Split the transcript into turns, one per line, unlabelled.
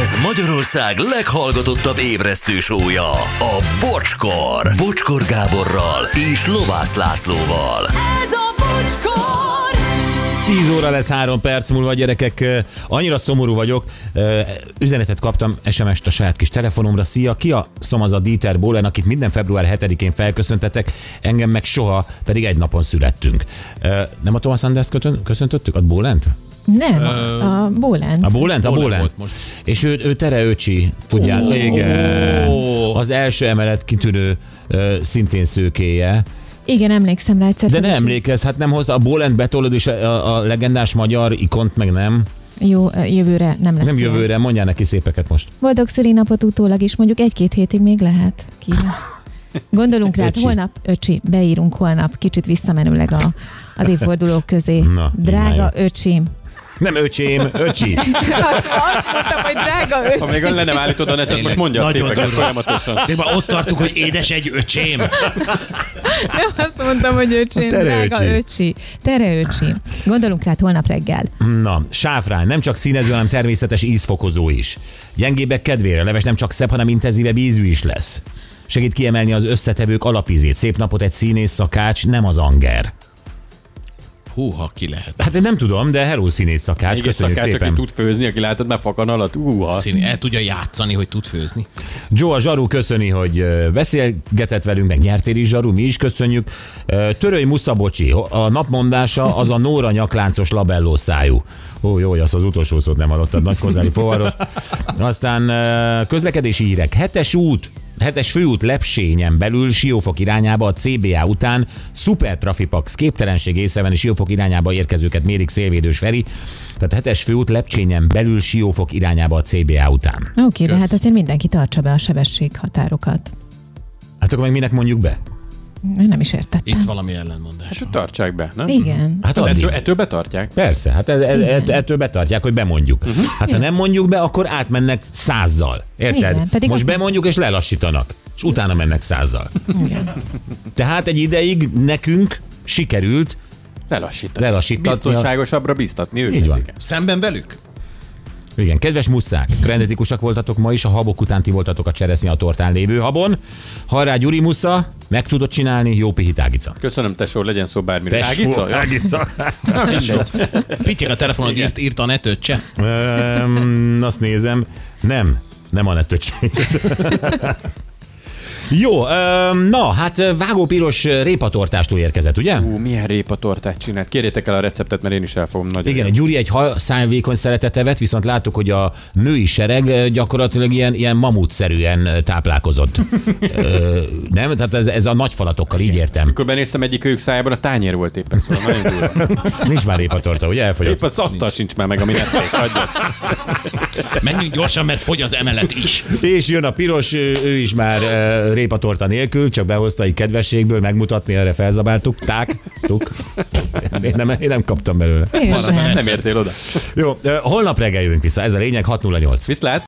Ez Magyarország leghallgatottabb ébresztő sója, a Bocskor. Bocskor Gáborral és Lovász Lászlóval.
Ez a bocskor!
10 óra lesz 3 perc múlva, gyerekek. Annyira szomorú vagyok. Üzenetet kaptam SMS-t a saját kis telefonomra. Szia, ki a szomaz a Dieter Bohlen, akit minden február 7-én felköszöntetek, engem meg soha, pedig egy napon születtünk. Nem a Thomas Sanders köszöntöttük? A Bolent?
Nem, a Bólán.
A Bólent? A
Bohlen
Bólent.
volt most.
És ő, ő Tere öcsi, tudják. Oh. Igen. Az első emelet kitűnő ö, szintén szőkéje.
Igen, emlékszem rá egyszer.
De
fel
ne
is-
emlékezz, hát nem hozta a Bólent betolod és a, a legendás magyar ikont meg nem.
Jó, jövőre nem lesz
Nem
ilyen.
jövőre, mondjál neki szépeket most.
Boldog szülinapot utólag is, mondjuk egy-két hétig még lehet. Ki? Gondolunk rá,
Öcsi.
holnap, öcsi, beírunk holnap, kicsit visszamenőleg a, az évfordulók közé.
Na,
drága
imádjuk.
öcsim.
Nem öcsém, öcsi.
Azt mondtam, hogy drága
Ha még
öcsim.
le nem állítod a netet, hát most mondja a
Nagyon
szépeket
durva.
folyamatosan.
Tényleg ott tartunk, hogy édes egy öcsém.
Nem azt mondtam, hogy öcsim,
Tere
drága
öcsi.
öcsi. Tere öcsim. Gondolunk rá hát holnap reggel.
Na, sáfrány, nem csak színező, hanem természetes ízfokozó is. Gyengébbek kedvére, leves nem csak szebb, hanem intenzívebb ízű is lesz. Segít kiemelni az összetevők alapízét. Szép napot egy színész szakács, nem az anger.
Húha, ki lehet.
Hát én nem tudom, de hello színész szakács,
Még egy
köszönjük
szakács, aki
szépen.
tud főzni, aki látod, megfakan alatt. Úha.
Színi, el tudja játszani, hogy tud főzni.
Joe a Zsaru köszöni, hogy ö, beszélgetett velünk, meg nyertél is Zsaru, mi is köszönjük. Ö, Törői Muszabocsi, a napmondása az a Nóra nyakláncos labelló szájú. Ó, jó, hogy azt az utolsó szót nem hallottad, nagy kozári fovarot. Aztán ö, közlekedési hírek. Hetes út, hetes főút lepsényen belül Siófok irányába a CBA után szuper trafipax képtelenség észreven és Siófok irányába érkezőket mérik szélvédős Feri. Tehát hetes főút lepcsényen belül Siófok irányába a CBA után.
Oké, okay, de hát azért mindenki tartsa be a sebességhatárokat.
Hát akkor meg minek mondjuk be?
Én Nem is értettem.
Itt valami ellenmondás.
Tartsák be, nem?
Igen.
Hát addig.
Ettől, ettől betartják.
Persze, hát ez, ez, ez, ettől betartják, hogy bemondjuk.
Mhm.
Uh-huh. Hát ha nem mondjuk be, akkor átmennek százzal. Érted?
Igen, pedig
Most
azt-
bemondjuk és lelassítanak, és utána mennek százzal.
Igen.
Tehát egy ideig nekünk sikerült,
Lelassítani.
Lelassítatni.
Biztonságosabbra biztatni őket.
Így van.
igen.
Szemben velük?
igen, kedves muszák, rendetikusak voltatok ma is, a habok után ti voltatok a cseresznyi a tortán lévő habon. Hajrá Gyuri Musza, meg tudod csinálni, jó pihi tágica.
Köszönöm, tesó, legyen szó szóval- bármiről. Ágica? Ja.
Tágica.
szóval-
Pityek a telefonon írt, írt a netöccse.
Öm, azt nézem, nem, nem a nettöcséget. Jó, öm, na, hát vágópiros répatortástól érkezett, ugye?
Ú, milyen répa tortát csinált. Kérjétek el a receptet, mert én is elfogom nagyon.
Igen, a Gyuri egy hal szányvékony szeretet evett, viszont láttuk, hogy a női sereg ö, gyakorlatilag ilyen, ilyen mamutszerűen ö, táplálkozott. Ö, nem? Tehát ez, ez a nagyfalatokkal, így értem.
Akkor benéztem egyik ők szájában, a tányér volt éppen, szóval nagyon durva.
Nincs már répatorta, ugye? Elfogyott.
Épp az asztal sincs már meg, ami ették. Hagyjad.
Menjünk gyorsan, mert fogy az emelet is.
És jön a piros, ő, ő is már uh, répatorta nélkül, csak behozta egy kedvességből megmutatni, erre felzabáltuk, ták, tuk. Én nem, én nem kaptam belőle.
Én sem.
Nem értél oda.
Jó, ö, holnap reggel jövünk vissza, ez a lényeg, 608.
Viszlát!